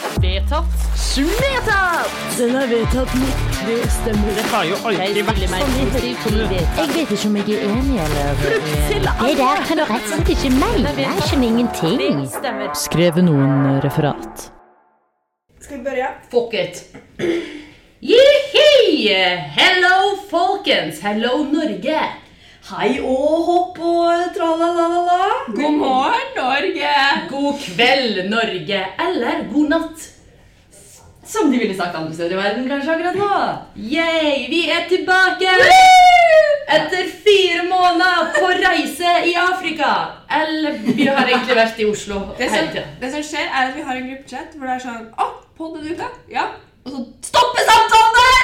Vedtatt. Vedtatt! Den er vedtatt mot det stemmer. Det har jo alltid vært sånn. i ti kommuner. Jeg vet ikke om jeg er enig eller Det der kan du rett og slett ikke mene. Det er ikke Mm. ingenting. Stemmer. Skrev noen referat? Skal vi børje? Fuck it. Jihi! Hello, folkens! Hello, Norge! Hei og hopp og tralalala. God morgen, Norge! God kveld, Norge! Eller god natt. Som de ville sagt andre steder i verden kanskje akkurat nå. Yay, vi er tilbake! Etter fire måneder på reise i Afrika! Eller vi har egentlig vært i Oslo Det som, hele tida. det som skjer, er at vi har en gruppechat hvor det er sånn Å, podden ute? Ja. Og så stopper samtalen der!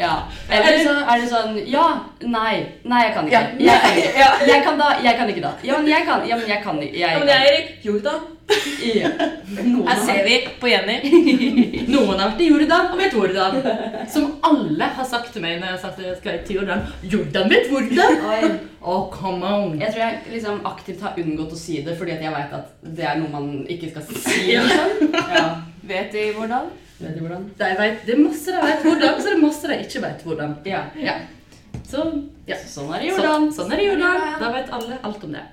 Ja. Eller så er det sånn Ja, nei. Nei, jeg kan ikke. Ja, Jeg, kan ja. ikke. jeg kan da, jeg kan ikke da. Ja, men jeg kan. Ja, men jeg kan ikke. Jeg Ja, men kan. jeg, Erik, Jordan. Ja. Noen Her ser vi på Jenny. Noen har vært i Jordan og vet hvordan. Som alle har sagt til meg når jeg har sagt at jeg skal til Jordan. Jordan vet hvordan! Oi. Oh, come on! Jeg tror jeg liksom aktivt har unngått å si det fordi at jeg veit at det er noe man ikke skal si. Ja. Liksom. Ja. Vet de hvordan? Vet du hvordan? De vet, det er masse de vet hvordan, og så er det masse de ikke vet hvordan. Ja. Ja. Så, ja. Sånn er det i Sånn, Jordan. sånn er det i Jordan. Da vet alle alt om det.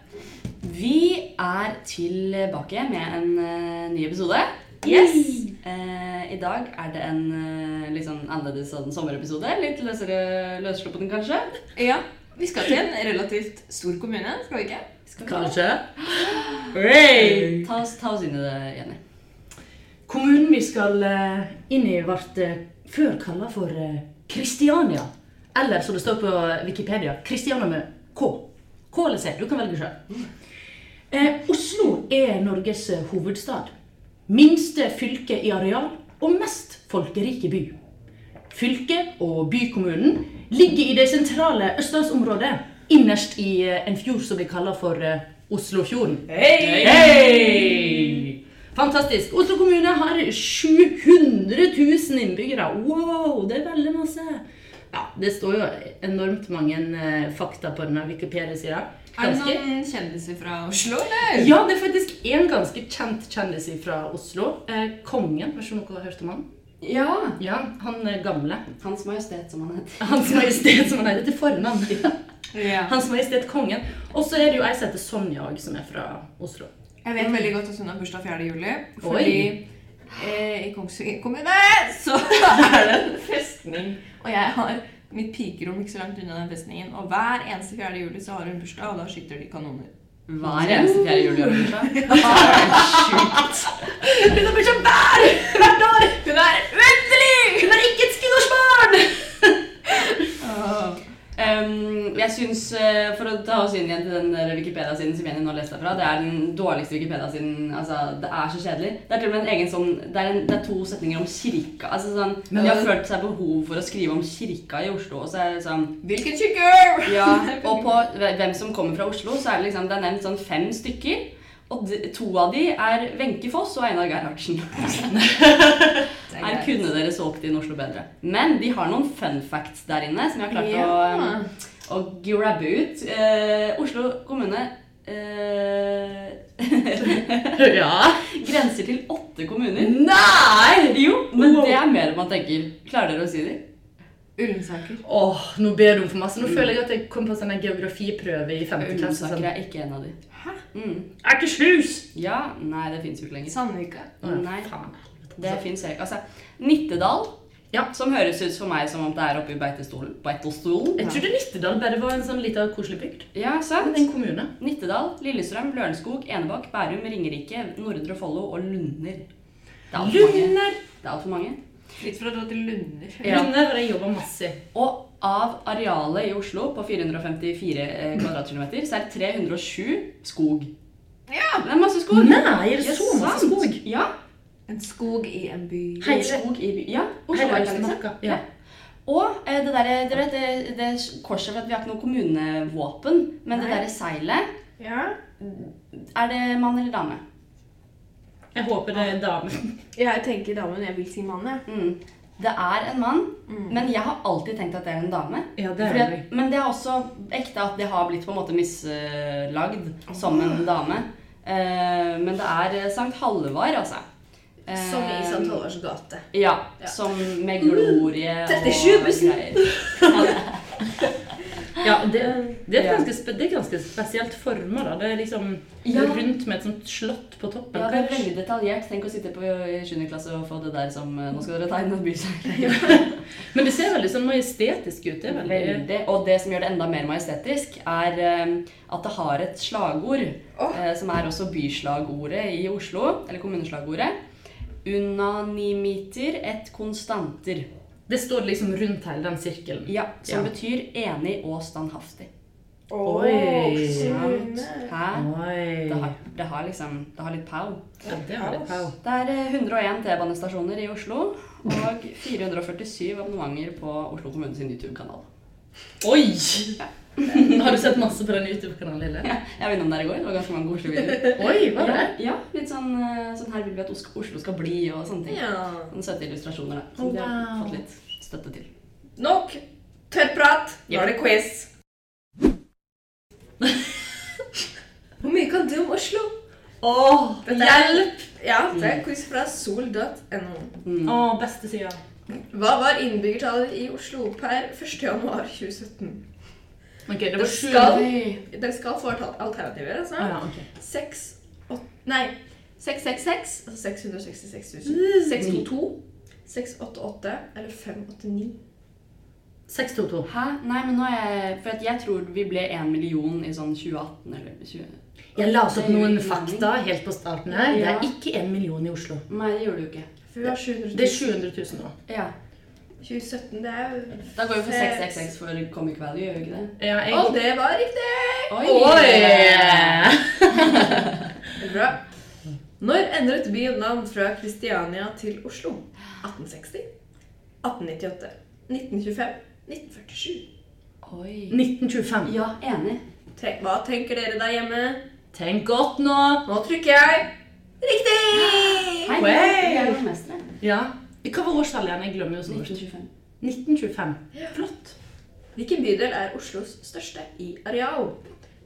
Vi er tilbake med en eh, ny episode. Yes! Eh, I dag er det en eh, litt sånn annerledes sånn sommerepisode. Litt løsere, løssluppen, kanskje. Ja. Vi skal til en relativt stor kommune, skal vi ikke? Skal vi Kanskje. Hey! ta oss, ta oss inn i det, Jenny. Kommunen vi skal eh, inn i, ble før kalla for eh, Kristiania. Eller som det står på Wikipedia, Kristiania med K. K eller C. Du kan velge sjøl. Eh, Oslo er Norges eh, hovedstad. Minste fylke i areal og mest folkerike by. Fylket og bykommunen ligger i det sentrale østlandsområdet, innerst i eh, en fjord som blir kalla for eh, Oslofjorden. Hei! Fantastisk. Oslo kommune har 700 000 innbyggere. Wow, det er veldig masse. Ja, Det står jo enormt mange eh, fakta på denne Wikipedia-sida. Er det Ganske- noen kjendiser fra Oslo, eller? Ja, det er faktisk en ganske kjent kjendis fra Oslo. Eh, kongen. Vet ikke om dere har hørt om han? Ja! Ja, Han eh, gamle. Hans Majestet, som han heter. Hans Majestet, som han heter til fornavn. Ja. Hans Majestet Kongen. Og så er det jo ei som heter Sonja òg, som er fra Oslo. Jeg vet veldig godt at hun har bursdag 4. juli, fordi Oi. eh, i Kongsvinger kommune så er det en festning. Og jeg har mitt pikerom ikke så langt unna den festningen. Og hver eneste 4. juli så har hun bursdag, og da skyter de kanoner. Hver eneste fjerde jul gjør hun det. Hun er ikke hver, hvert år! Hun er uendelig! Hun er ikke et skuddårsbarn! Um, jeg synes, eh, For å ta oss inn igjen til den der Wikipedia-siden som Jenny nå leste fra Det er den dårligste Wikipedia-siden. altså Det er så kjedelig. Det er til og med en egen sånn, det er, en, det er to setninger om kirka. altså sånn, Men- De har følt seg behov for å skrive om kirka i Oslo. og så er det sånn, Hvilken tjukker! ja, Og på hvem som kommer fra Oslo, så er det liksom, det er nevnt sånn fem stykker. Og de, to av de er Wenche Foss og Einar Gerhardsen. Her kunne dere solgt inn Oslo bedre. Men de har noen fun facts der inne som jeg har klart um, Ja. å, å grabbe ut. Eh, Oslo kommune eh, Ja. grenser til åtte kommuner. Nei! Jo, men det er mer enn man tenker. Klarer dere å si det? Ullensaker. Åh, nå ber du om for masse. Nå føler jeg at jeg kom på sånn en geografiprøve i 5. klasse. Ullensaker Sånn. er ikke en av de. Mm. Akershus! Ja, nei, det fins jo ikke lenger. Sandvika. Å, ja, Nei. faen. Det fins ikke. Altså, Nittedal, Ja. som høres ut for meg som om det er oppe i Beitestolen. Beitestolen? Jeg trodde Nittedal bare var en sånn liten koselig bygd. Ja, Men sant? det er en kommune. Nittedal, Lillestrøm, Lørenskog, Enebakk, Bærum, Ringerike, Nordre Follo og Lunder. Det er altfor mange. Lunder! Det er alt for mange. Litt for å dra til Lunder. Ja. Lunder har jeg jobba masse i. Og av arealet i Oslo på 454 eh, kvadratkilometer, så er det 307 skog. Ja. Det er masse skog. Nei, er det Ja, så masse sant. skog? Ja. En skog i en by. Hele- Hele skog i by. Ja, Oslo Hele er det, liksom. Østmarka, ja. Ja. Og eh, det derre Dere vet det, det korset for at vi har ikke noe kommunevåpen, men det Nei. derre seilet Ja. Er det mann eller dame? Jeg håper det er dame. Jeg tenker damen, jeg vil si mann, jeg. Mm. Det er en mann, men jeg har alltid tenkt at det er en dame. Ja, det er Fordi at, det. men det er også ekte at det har blitt på en måte mislagd som en dame. Eh, men det er eh, Sankt Halvard, altså. Eh, Som i St. Halvards gate. Ja, Ja. som med glorie og 37-bussen. greier. Ja, det, det, er Ja. et ganske, spe- det er ganske spesielt forma, da. Det er liksom Ja. rundt med et sånt slott på toppen. Ja, det er kanskje. veldig detaljert. Tenk å sitte på i 7. klasse og få det der som eh, Nå skal dere tegne en byseil. Men det ser veldig sånn majestetisk ut. Det er veldig... Veldig. Og det som gjør det enda mer majestetisk, er eh, at det har et slagord, eh, som er også byslagordet i Oslo, eller kommuneslagordet. Unanimiter et konstanter. Det står liksom rundt hele den sirkelen. Ja, som Ja. betyr enig og standhaftig. Oi. sant. Hæ? Oi. Det har, det har liksom Det har litt pow. Ja, det var litt pow. Det er eh, 101 T-banestasjoner i Oslo og 447 abonnementer på Oslo kommune sin YouTube-kanal. Oi! Har du sett masse på den YouTube-kanalen, Lille? Jeg var innom der i går. Det var ganske mange koselige videoer. Oi, hva er Ja, det? ja, litt sånn, eh, sånn her vil vi at Os- Oslo skal bli, og sånne ting. Ja. Sånne søte illustrasjoner der. Som de har fått litt støtte til. Nok tørrprat. Nå er det quiz. Hvor mye kan du om Oslo? Åh, Dette er- Ja, det er quiz fra sol.no. Å, beste sida. Hva var innbyggertallet i Oslo per 1. januar 2017? Ok, det Det var sju. skal, det skal få alt- alternativer, altså. Ah, ja, ok. 6, 8, nei, 666, altså 666 000, 622, 688 eller 589. 622. Hæ? Nei, men nå er jeg For at jeg tror vi ble én million i sånn 2018 eller 20... Jeg la oss opp noen fakta helt på starten her. Det Ja. er ikke én million i Oslo. Nei, det gjorde du ikke. For vi har 700 000. Det er 700 000 nå. Ja. 2017, det er jo... Da går vi for Seks. 666 for comic value, gjør vi ikke det? Ja, Og det var riktig! Oi! Oi! Veldig Bra. Når endret byen navn fra Kristiania til Oslo? 1860, 1898, 1925, 1947. Oi. 1925. Ja, enig. Tenk, hva tenker dere der hjemme? Tenk godt nå. Nå trykker jeg riktig! Hei, Oi. jeg er norgesmestere. Ja. Hva var årstallet igjen? Jeg glemmer jo sånn. 1925. 1925. Flott. Hvilken bydel er Oslos største i areal?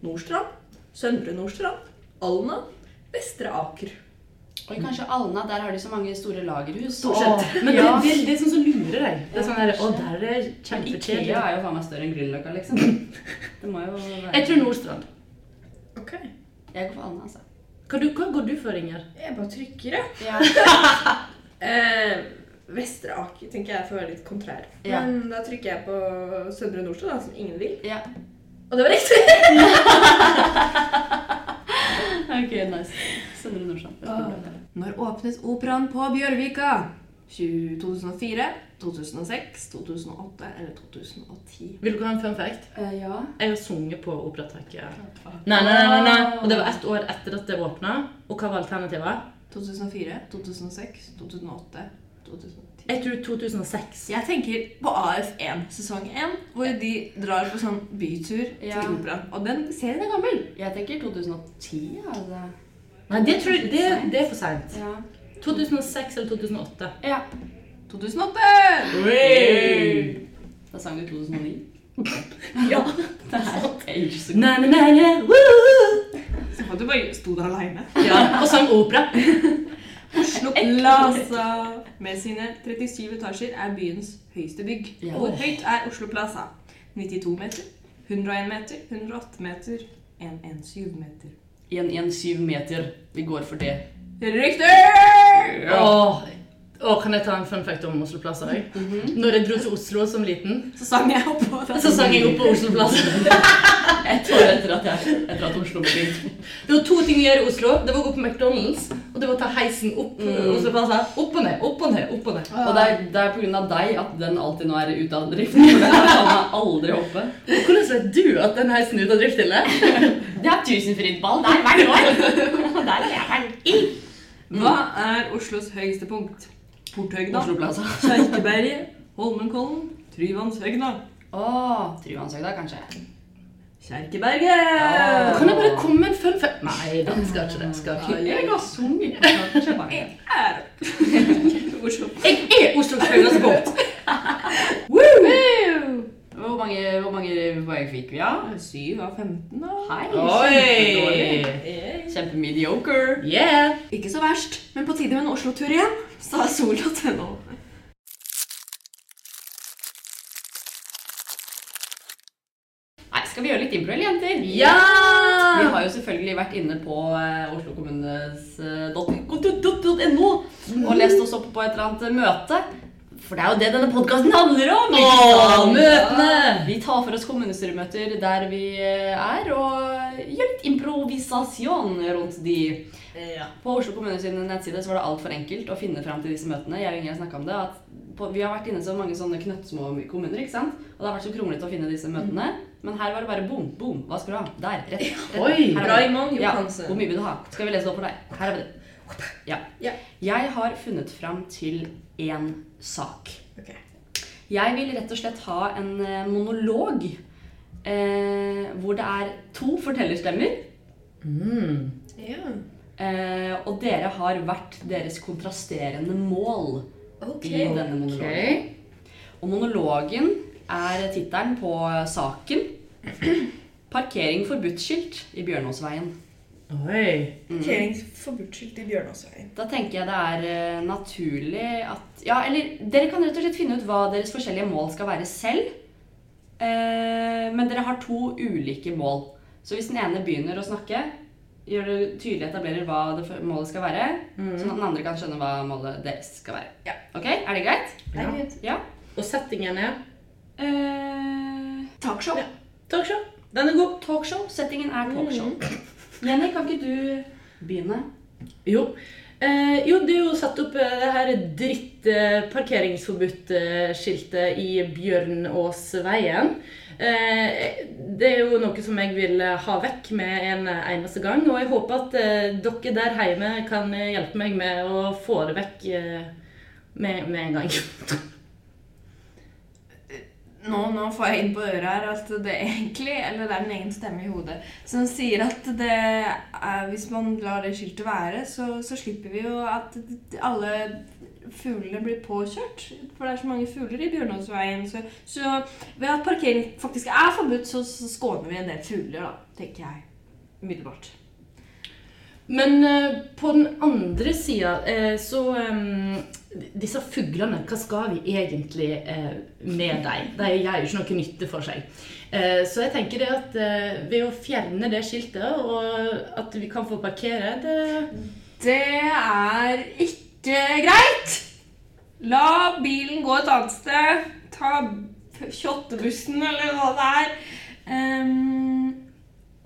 Nordstrand, Søndre Nordstrand, Alna, Vestre Aker. Oi, kanskje Alna. Der har de så mange store lagerhus. Åh, Men det, Ja. det, det er sånn som lurer deg. Det er sånn her, Å, der er det Ikea kjempekjedelig. er jo faen meg større enn Grünerløkka, liksom. Det må jo være Jeg tror Nordstrand. Ok, Jeg går for Alna, altså. Hva, du, hva går du for, Inger? jeg bare trykker, jeg. Ja. Eh, Vestre Aker tenker jeg får være litt kontrær. Ja. Men da trykker jeg på Søndre Nordstrand, da, som ingen vil. ja. Og det var riktig! Ok, nice. Søndre Nordstrand. Det skal bli bra. Når åpnet operaen på Bjørvika? 2004, 2006, 2008 eller 2010? Vil du ha en fun fact? Eh, ja. Jeg har sunget på Operatakket. Nei, nei, nei, nei, nei. Og det var ett år etter at det åpna. Og hva var alternativet? 2004, 2006, 2008, 2010. Jeg tror 2006. Jeg tenker på AF1, sesong 1, hvor de drar på sånn bytur Ja. til operaen. Og den serien er gammel. Jeg tenker 2010, altså. Nei, det, tror jeg, det, det er for seint. Ja. 2006 eller 2008. ja. 2008! Da sang du 2009. ja. Det er age så Nei, nei, nei, nei. woo! Se på at du bare sto der aleine. Ja, og sang opera. Oslo Plaza med sine 37 etasjer er byens høyeste bygg. Ja. Hvor høyt er Oslo Plaza? 92 meter, 101 meter, 108 meter, 117 meter. 117 meter. Vi går for det. Riktig! Åh, åh, kan jeg ta en fun fact om Oslo Plaza òg? Når jeg dro til Oslo som liten, Så sang jeg oppå der. så sang jeg opp på Oslo Plaza. Et år etter at, jeg, etter at Oslo ble bygd. Det var to ting å gjøre i Oslo. Det var å gå på McDonald's, og det var å ta heisen opp Oslo Plaza. Opp og ned, opp og ned, opp og ned. Og det er, det er på grunn av deg at den alltid nå er ute av drift. Den er faen meg aldri oppe. Og hvordan vet du at den heisen er ute av drift, Hilde? Det er tusenfrydball der hvert år. Og der lever den i Hva er Oslos høyeste punkt? Porthøgda. Oslo Plaza. Kjerkeberget, Holmenkollen, Tryvannshøgna. Å, Truansøgda, kanskje. Kjerkeberget! Ja. Kan jeg bare komme med en fun fact? Nei da, skal ikke det. Skal ikke. Jeg har sunget på Kjøpang. Oslo. Jeg er Oslos høyeste punkt. Hvor mange, hvor mange poeng fikk vi? Ja? 7 av 15, da. Hei, kjempedårlig. Oi! Kjempemediocre. Yeah! Ikke så verst, men på tide med en Oslo-tur igjen, sa sol.no. Nei, skal vi gjøre litt impro, eller, jenter? Vi Ja! har jo selvfølgelig vært inne på eh, oslokommunes.no og lest oss opp på et eller annet møte. For det er jo det denne podkasten handler om! Åh, ikke sant? møtene! Vi tar for oss kommunestyremøter der vi eh, er, og gjør litt improvisasjon rundt de. På Oslo kommune sin nettside så var det altfor enkelt å finne fram til disse møtene. Jeg og Inge har snakket om det, at på, Vi har vært inne i så mange sånne knøttsmå kommuner, ikke sant? og det har vært så kronglete å finne disse møtene. Mm. Men her var det bare boom, boom. Hva skal du ha? Der. Rett. rett. Oi! Her er det. Raymond Ja, Johansen. hvor mye vil du ha? Skal vi lese det opp for deg? Her er vi det. Ja. Ja. Jeg har funnet fram til én sak. Ok. Jeg vil rett og slett ha en eh, monolog eh, hvor det er to fortellerstemmer, Mm. Ja. eh, og dere har hvert deres kontrasterende mål Ok. i denne monologen. Og monologen er tittelen på saken 'Parkering forbudt-skilt i Bjørnåsveien'. Oi! Parkeringsforbudsskilt i Bjørnåsveien. Da tenker jeg det er eh, naturlig at Ja, eller dere kan rett og slett finne ut hva deres forskjellige mål skal være selv. Eh, men dere har to ulike mål. Så hvis den ene begynner å snakke, gjør det tydelig etablerer hva det f- målet skal være, sånn at den andre kan skjønne hva målet deres skal være. Ja. Ok, Er det greit? Det er greit. Ja. Og settingen er Eh, Talkshow. Talkshow. Den er god. talkshow. Settingen er talkshow. Jenny, kan ikke du begynne? Jo. Eh, jo, det er jo satt opp eh, det her dritt eh, parkeringsforbudt-skiltet i Bjørnåsveien. Eh, det er jo noe som jeg vil eh, ha vekk med en eh, eneste gang. Og jeg håper at eh, dere der hjemme kan eh, hjelpe meg med å få det vekk eh, med, med en gang. Nå, nå får jeg inn på øret her at det egentlig Eller det er min egen stemme i hodet som sier at det er, hvis man lar det skiltet være, så, så slipper vi jo at alle fuglene blir påkjørt. For det er så mange fugler i Bjørnåsveien. Så, så ved at parkering faktisk er forbudt, så, så skåner vi en del fugler, da, tenker jeg. Umiddelbart. Men eh, på den andre sida eh, så eh, Disse fuglene, hva skal vi egentlig eh, med dem? De gjør jo ikke noe nytte for seg. Eh, så jeg tenker det at eh, ved å fjerne det skiltet, og at vi kan få parkere det Det er ikke greit! La bilen gå et annet sted. Ta f- kjottebussen, eller hva det er. Ehm,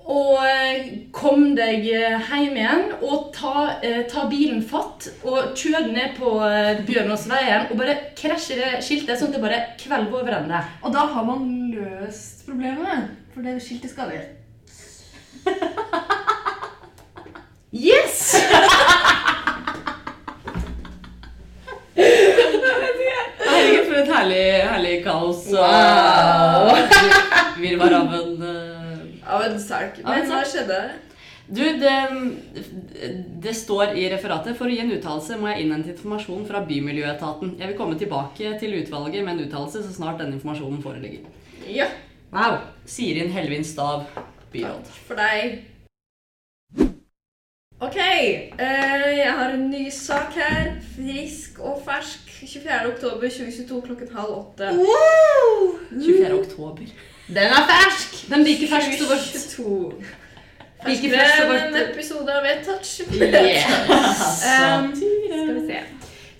Og eh, kom deg eh, hjem igjen, og ta, eh, ta bilen fatt, og kjør den ned på eh, Bjørnåsveien, og bare krasje det skiltet, sånn at det bare kvelver over ende. og da har man løst problemet. For det skiltet skal det. Yes! Herregud, for et herlig, herlig kaos. Wow. Virvar av en eh, Av en sak. Av en Men hva skjedde? Du, det, det står i referatet For å gi en uttalelse må jeg innhente informasjon fra Bymiljøetaten. Jeg vil komme tilbake til utvalget med en uttalelse så snart den informasjonen foreligger. Ja, Wow. Sirin Helvin Stav, byråd. for deg. Ok, eh, jeg har en ny sak her. Frisk og fersk. 24. oktober 2022 klokken halv åtte. 24. oktober. Den er fersk! Den er like fersk som vårt. 22. Like Det fersk som er en vårt episode av Vedtatt. Altså. Ehm, Um, skal vi se.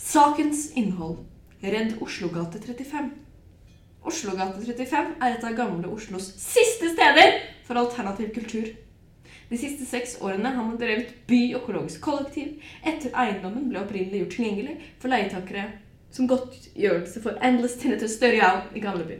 Sakens innhold. Redd Oslogate 35. Oslogate 35 er et av gamle Oslos siste steder for alternativ kultur. De siste seks årene har man drevet byøkologisk kollektiv etter eiendommen ble opprinnelig gjort tilgjengelig for leietakere som godtgjørelse for Endless Tinnitus Størjan i Gamleby.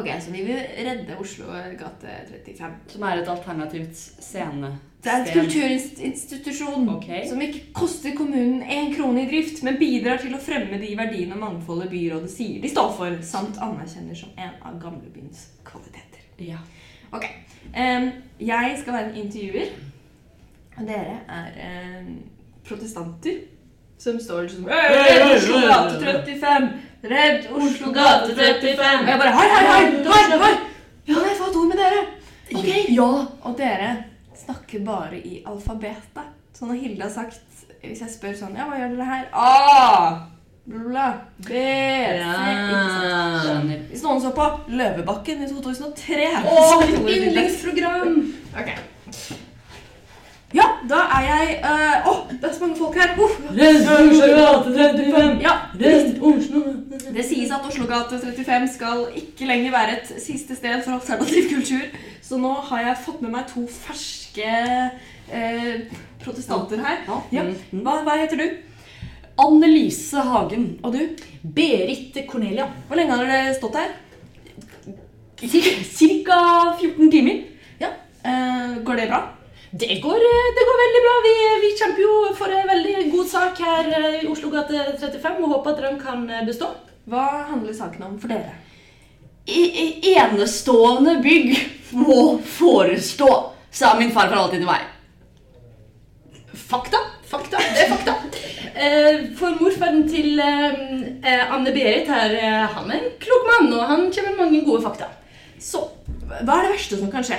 Ok, så vi vil redde Oslo gate 35. Som er et alternativt scene. Det er et kulturinstitusjon Ok. som ikke koster kommunen én krone i drift, men bidrar til å fremme de verdiene og mangfoldet byrådet sier de står for, samt anerkjenner som en av gamlebyens kvaliteter. Ja. Ok, em, Jeg skal være en intervjuer, og dere er em, protestanter som står liksom «Hey, Oslo gate 35! Redd Oslo gate 35. Og jeg bare hei, hei, hei, hei, hei. Ja, jeg fant ord med dere. Ok. Ja. Og dere snakker bare i alfabetet. Så når Hilde har sagt Hvis jeg spør sånn Ja, hva gjør dere her? A. Bla, bla, B. C. Ikke sant? Skjønner. Hvis noen så på Løvebakken i 2003 Åh, så gjorde de det. yndlingsprogram! Ok. Ja, da er jeg eh, Åh, det er så mange folk her! Uff. Ja, det sies at Oslogate 35 skal ikke lenger være et siste sted for alternativ kultur, så nå har jeg fått med meg to ferske eh, protestanter her. Ja. Ja. Mm-hmm. Hva, hva heter du? Annelise Hagen. Og du? Berit Cornelia. Hvor lenge har dere stått her? Ca. 14 timer. Eh, går det bra? Det går, eh, det går veldig bra. Vi, eh, vi kjemper jo for en veldig god sak her eh, i Oslo gate 35 og håper at den kan eh, bestå. Hva handler saken om for dere? I- i- Enestående bygg må forestå, sa min farfar alltid til meg. Fakta. Fakta. Det er fakta. Eh, For morfaren til eh, eh, Anne Berit her, eh, han er en klok mann, og han kommer med mange gode fakta. Så, hva er det verste som kan skje?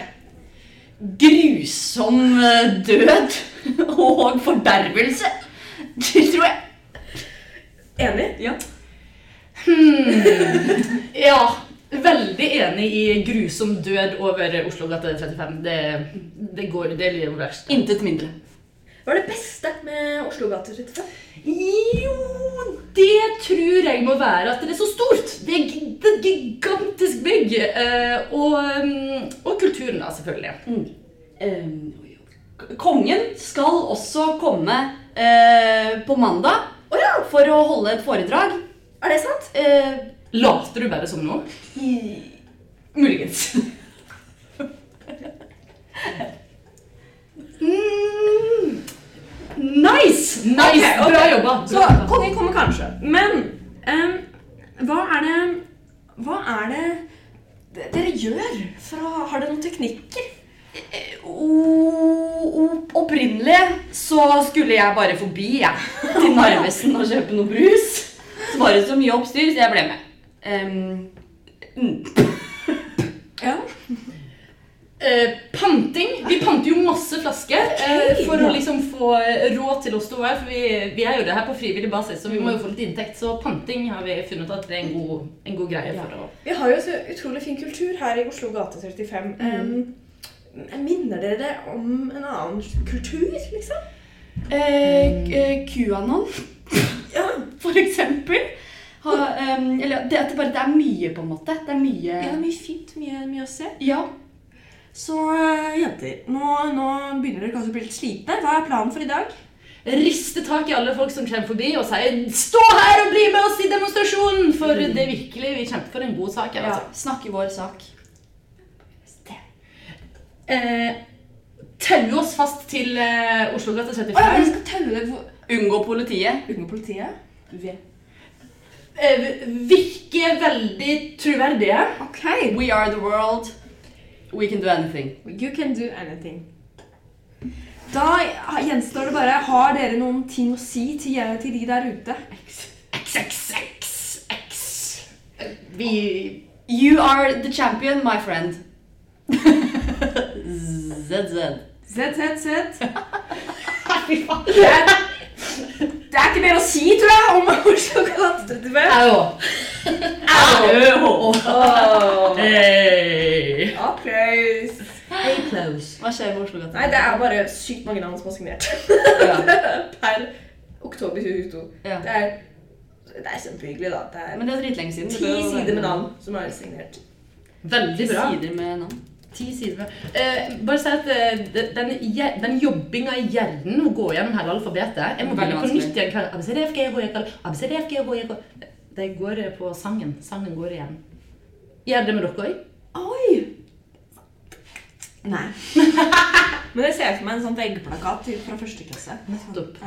Grusom eh, død og fordervelse. Det tror jeg. Enig? Ja. Ja, veldig enig i grusom død over Oslo gate 35. Det, det går, det blir jo verst. Intet mindre. Hva er det beste med Oslo gate 35? Jo, det tror jeg må være at det er så stort. Det er gi- det er et gigantisk bygg. eh, Og, mm, og kulturen, da, selvfølgelig. Ehm, k- Kongen skal også komme eh, på mandag for å holde et foredrag. Er det sant? Eh, Later du bare som nå? muligens. Mm. Nice! nice. Ok, ok. Bra jobba. Så kongen kommer kanskje. Men em, hva er det Hva er det d- dere gjør? For å, har dere noen teknikker? O- o- Opprinnelig så skulle jeg bare forbi jeg, til Narvesen og kjøpe noe brus. Så var det så mye oppstyr, så jeg ble med. Ehm, mm. Ja. Eh, panting. Vi panter jo masse flasker eh, for å liksom få råd til å stå her. For vi, vi er jo det her på frivillig basis, så vi må jo få litt inntekt. Så panting har vi funnet ut at det er en god, en god greie for å Vi har jo så utrolig fin kultur her i Oslo gate 35. Mm. Em, minner dere det om en annen kultur, liksom? Eh, k- eh, QAnon, Ja. for eksempel. Ha, ehm, eller, det, at det, bare, det er mye, på en måte. Det er mye ja, mye fint. Mye, mye å se. Ja. Så eh, jenter, nå, nå begynner dere kanskje å bli litt slitne. Hva er planen for i dag? riste tak i alle folk som kommer forbi, og si 'stå her og bli med oss i demonstrasjonen'! For det er virkelig, vi kjemper for en god sak her, ja. altså. Snakke vår sak. Eh, Taue oss fast til eh, Oslogata Å ja, 35. dere skal taue dere for Unngå politiet. unge politiet? Eh, virke veldig troverdige. Ok. We are the world. We can do anything. You can do anything. Da gjenstår det bare Har dere noen ting å si til, til de der ute? XXXX. Vi You are the champion, my friend. ZZ. Sett, sett, sett. Fy faen. Det er ikke mer å si, tror jeg, om Oslo gate 35. Au! Au! Hey. Applaus. Hva skjer med Oslo Gata? Nei, det er bare sykt mange navn som har signert Ja. per oktober 2022. Ja. Det er, det er kjempehyggelig, da. Det er Men det er dritlenge siden. det ti bør jo være- sider med navn som er signert. Veldig bra. Sider med navn. Ti sider. Eh, bare si at eh, de- den, je- den jobbinga i hjernen å gå gjennom hele alfabetet Jeg må Veldig begynne på vanskelig. nytt igjen. hver- ABCDFGHJK, ABCDFGHJK. Det går eh, på sangen. Sangen går igjen. Gjør det med dere òg? Oi! Nei. Men jeg ser for meg en sånn veggplakat til- fra første klasse. Sånn. Nettopp. Æ,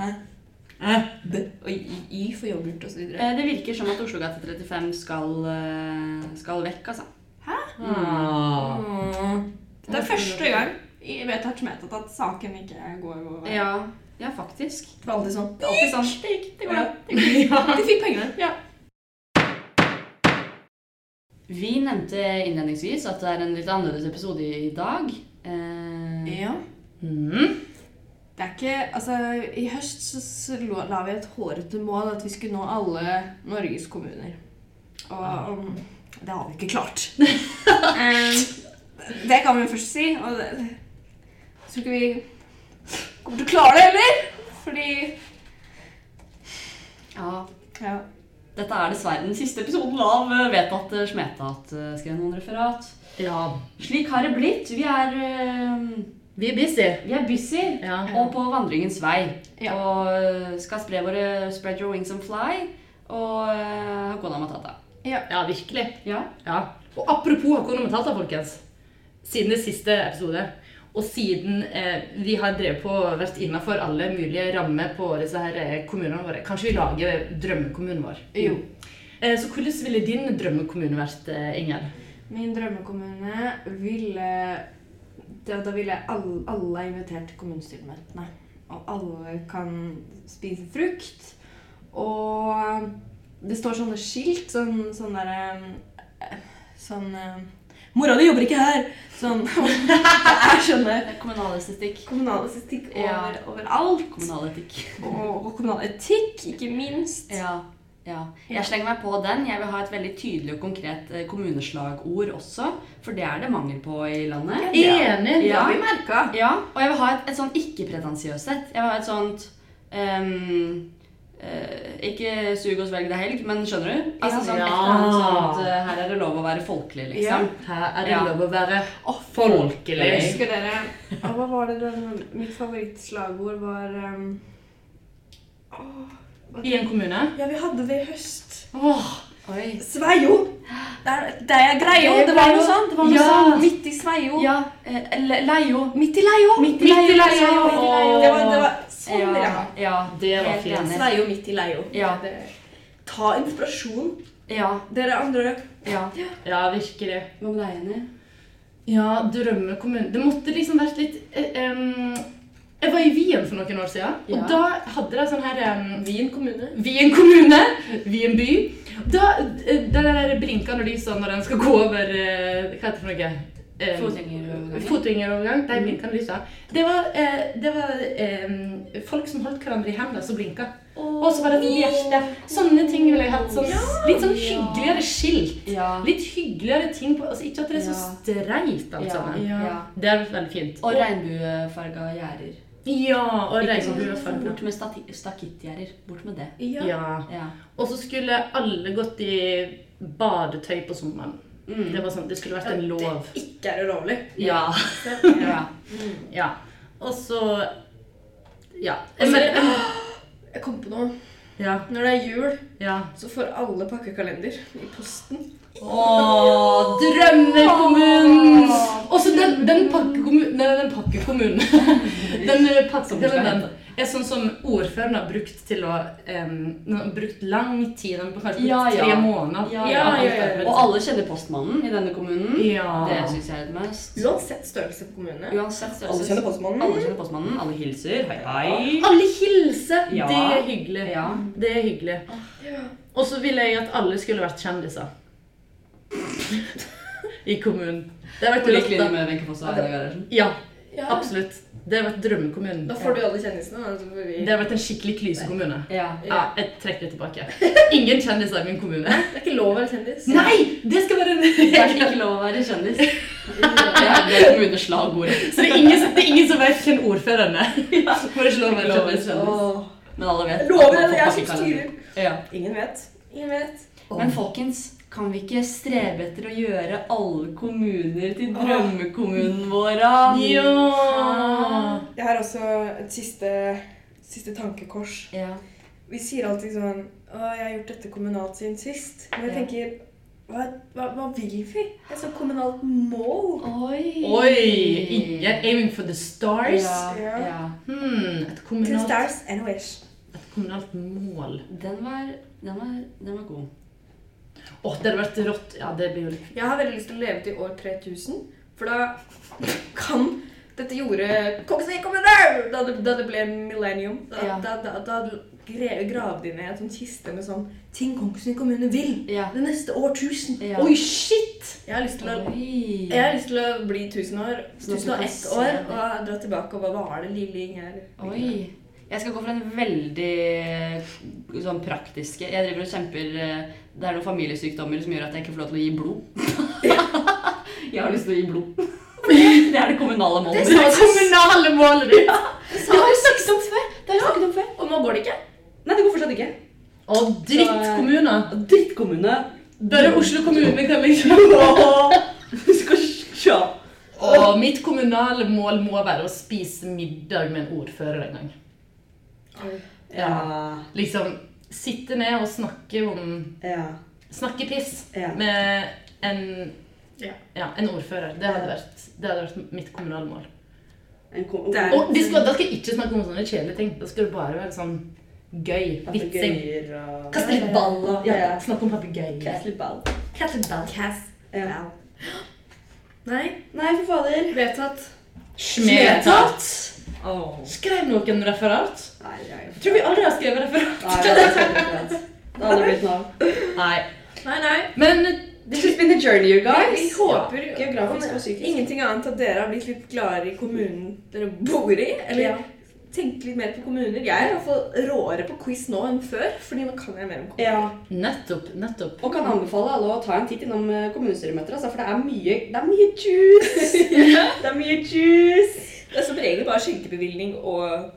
B, og Y Y for yoghurt og så videre. Eh, Det virker som at Oslo Gata 35 skal, eh, skal vekk, altså. Mm. Det er første gang i Vetartsmetet at saken ikke går over. Ja. Ja, faktisk. Det var alltid sånn. Det er alltid sånn. Det gikk. Det går bra. De fikk pengene. Vi nevnte innledningsvis at det er en litt annerledes episode i dag. Eh, Ja. Mm. Det er ikke Altså, i høst så, så lo- la vi et hårete mål at vi skulle nå alle Norges kommuner. Og um, det har vi ikke klart. Um, det kan vi jo først si. Og det, det- jeg tror ikke vi kommer til å klare det heller. Fordi ja. ja. Dette er dessverre den siste episoden av eh, Vedtatt eh, Smetat. eh, Skrev noen referat. Ja. Slik har det blitt. Vi er, eh, Vi er busy. vi er busy Ja. og på vandringens vei. Ja. Og eh, skal spre våre Spread your wings and fly. Og eh, Hakuna Matata. ja, virkelig. Ja. Ja. Og apropos Hakuna Matata, folkens. Siden det siste episode, og siden eh, vi har drevet på og vært innafor alle mulige rammer på disse her eh, kommunene våre, kanskje vi lager drømmekommunen vår? Jo. Eh, så hvordan ville din drømmekommune vært, eh, Inger? Min drømmekommune ville Da, da ville alle, alle er invitert til kommunestyremøtene. Og alle kan spise frukt. Og det står sånne skilt, sånn, sånn derre Sånn eh, 'Mora di jobber ikke her!' Sånn. Det er sånne Kommunal estetikk. kommunale statistikk over, Ja. overalt. Kommunal etikk. Og, og kommunal etikk, ikke minst. Ja. ja. Jeg slenger meg på den. Jeg vil ha et veldig tydelig og konkret eh, kommuneslagord også. For det er det mangel på i landet. Enig! Det Ja. har vi merka. Ja, og jeg vil ha et, et sånn ikke-pretensiøst sett. Jeg vil ha et sånt ehm, eh, Ikke sug og svelg deg helg, men skjønner du? Altså Ja. sånn et eller annet sånt eh, Her er det lov å være folkelig, liksom. Her er det Ja. lov å være Å, Jeg folkelig. husker dere Å, Hva var det den, Mitt favorittslagord var um, I en kommune. Ja, vi hadde det i høst. Åh, Oi. Sveio! Det er, det er greio! Det er Det var noe greio. sånt. Det var noe Ja. sånt. Midt i Sveio. Ja. eh, le- Leio. Midt i leio! Midt i leio. Sveio, midt i leio. Det var, det var sånn Ja, dere ja, Det var helt fint. enig. Sveio midt i leio. Ja. Det- Ta inspirasjon, Ja, dere andre. ja. ja, virkelig. Hva med deg, Jenny? Ja, drømmekommune Det måtte liksom vært litt eh, em, Jeg var i Wien for noen år siden, Ja. og da hadde de sånn her em, Wien kommune. Wien kommune, Wien by. Da, eh, det der blinkende lyset når en skal gå over eh, Hva heter det for noe? Em, Fotgjengerovergangen. Fotgjengerovergang. De blinkende lysa. Det var, eh, det var em, folk som holdt hverandre i hendene, som blinka. Og så var det et hjerte. Sånne ting ville jeg hatt. Sånn, litt sånn hyggeligere skilt. Ja. Litt hyggeligere ting på altså Ikke at det er så Ja. streit, alt Ja. sammen. ja. Det er veldig fint. Og regnbuefarga gjerder. ja, og Ikke sånn regnbuefarger. Bort med stati- stakittgjerder. Bort med det. Ja. Ja. Ja. Og så skulle alle gått i badetøy på sommeren. Mm. Det, var sånn, det skulle vært en lov. Ikke er ulovlig. Ja. ja. Ja. Og så Ja. Altså, Men, Jeg kom på noe. ja, Når det er jul, ja. så får alle pakkekalender i posten. Åh, drømmekommunen! Og så den, den pakkekommunen Nei, den pakkekommunen. Den eh, pakkekalenderen er sånn som ordføreren har brukt til å em, Den har brukt lang tid, den har kanskje brukt Ja, ja. tre måneder. Ja, ja, ja, ja. Og alle kjenner postmannen i denne kommunen. Ja. Det syns jeg er det mest. Uansett størrelse på kommune. Uansett størrelse. Alle kjenner postmannen. Alle kjenner postmannen. Alle hilser. Hei, hei. Alle hilser! Ja. Det er hyggelig. Ja. Det er hyggelig. Og så ville jeg at alle skulle vært kjendiser. I kommunen. Det har vært På lik linje Lotta. med Wenche Foss og Einar Gerhardsen. Ja, Ja. absolutt. Det har vært drømmekommunen. Da får du alle kjendisene. da, så får vi- Det har vært en skikkelig klysekommune. Ja. Ja, jeg trekker det tilbake. Ingen kjendiser i min kommune. Det er ikke lov å være kjendis. Nei! Det skal være Det er en ikke lov å være kjendis. Det er det er kommuneslagordet. Så det er ingen, som- det er ingen som vet hvem ordføreren er. Får ikke lov å være kjendis. Åh. Men alle vet. Jeg lover at man deg, jeg er får som pakkekalender. styrer. Ja. Ingen vet. Ingen vet. Men folkens, kan vi ikke strebe etter å gjøre alle kommuner til drømmekommunen vår? da? Ja. Jeg har også et siste, siste tankekors. Ja. Vi sier alltid sånn Å, jeg har gjort dette kommunalt siden sist. Men jeg Ja. tenker hva, hva, hva vil vi? Et sånt kommunalt mål? Oi! Oi! Inge, aiming for the stars. Ja, Ja. ja. Hmm, et To kommunalt stars and a wish. kommunalt mål. Den var, den var, den var god. Åh, det hadde vært rått. Ja, det blir jo litt Jeg har veldig lyst til å leve til år 3000, for da kan dette gjorde Kongsvinger kommune! Da det, da det ble millennium. Da, Ja. da, da, da gre- gravd inn i en sånn kiste med sånn Ting Kongsvinger kommune vil Ja. det neste årtusen. Ja. Oi, shit! Jeg har lyst til å Oi. jeg har lyst til å bli 1000 år, Sånn at du 1001 kan se år det. og dra tilbake og bare Hva er det lille Inger Oi. Jeg skal gå for en veldig sånn praktiske Jeg driver og kjemper eh, Det er noen familiesykdommer som gjør at jeg ikke får lov til å gi blod. jeg har lyst til å gi blod. Det er det kommunale målet. Det sånn- sa mitt. du Kommunale målet ditt! Sa du snakket om før? Det har vi snakket om før. Og nå går det ikke. Nei, det går fortsatt ikke. Å, drittkommuner! Drittkommune. Bare Oslo kommune kan liksom Du skal sjå. Og mitt kommunale mål må være å spise middag med en ordfører en gang. Ja. Liksom sitte ned og snakke om ja. Snakke piss Ja. med en Ja. ja, en ordfører. Det hadde vært, det hadde vært mitt kommunale mål. En kom Det er- Og de skal, da skal jeg ikke snakke om sånne kjedelige ting. Da skal det bare være sånn gøy. Vitsing. og Kaste litt ball og Ja, ja, ja. snakke om papegøyer. litt ball. Cass. Ja. Nei, Nei, for fader. vedtatt. Smedtatt! Oh. Skrev noen referat? Nei, jeg Jeg tror vi aldri har skrevet referat. Nei, det er sant, det er sant. Det hadde blitt noe. Nei. Nei, nei. Men This has been the journey, you guys. Vi håper Ja, Geografisk og psykisk. Ingenting annet at dere har blitt litt gladere i kommunen dere bor i. Eller Ja. tenkt litt mer på kommuner. Jeg er i hvert fall råere på quiz nå enn før, fordi nå kan jeg mer om kommuner. Ja, nettopp, nettopp. og kan anbefale alle å ta en titt innom eh, kommunestyremøter, altså, for det er mye, det er mye juice. Det er mye juice. Det er som regel bare skjenkebevilgning og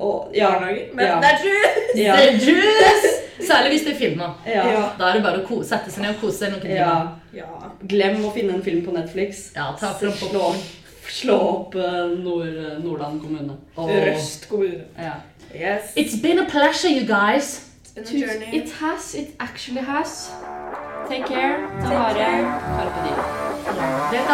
Og, ja, barnehager. Men ja, det er true! ja, Det er juice! Særlig hvis det er filma. ja, Da er det bare å ko- sette seg ned og kose seg noen ja. timer. Ja. Glem å finne en film på Netflix. Ja, ta fram Slå popcorn. opp, slå opp eh, Nord, Nordland kommune. Åh. Røst kommune. Ja. Yes. It's been a pleasure, you guys. It's been a Tusen- journey. It has, it actually has. Take care. Ta vare. Carpe diem.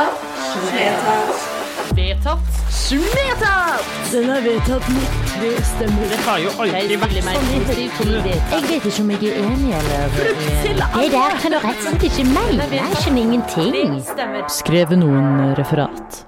Den har vedtatt mitt, det stemmer. Det har jo aldri vært sånn i historien. Jeg vet ikke om jeg er enig eller uenig. Det der kan du rett og slett ikke mene. Jeg skjønner ingenting. Skrev noen referat.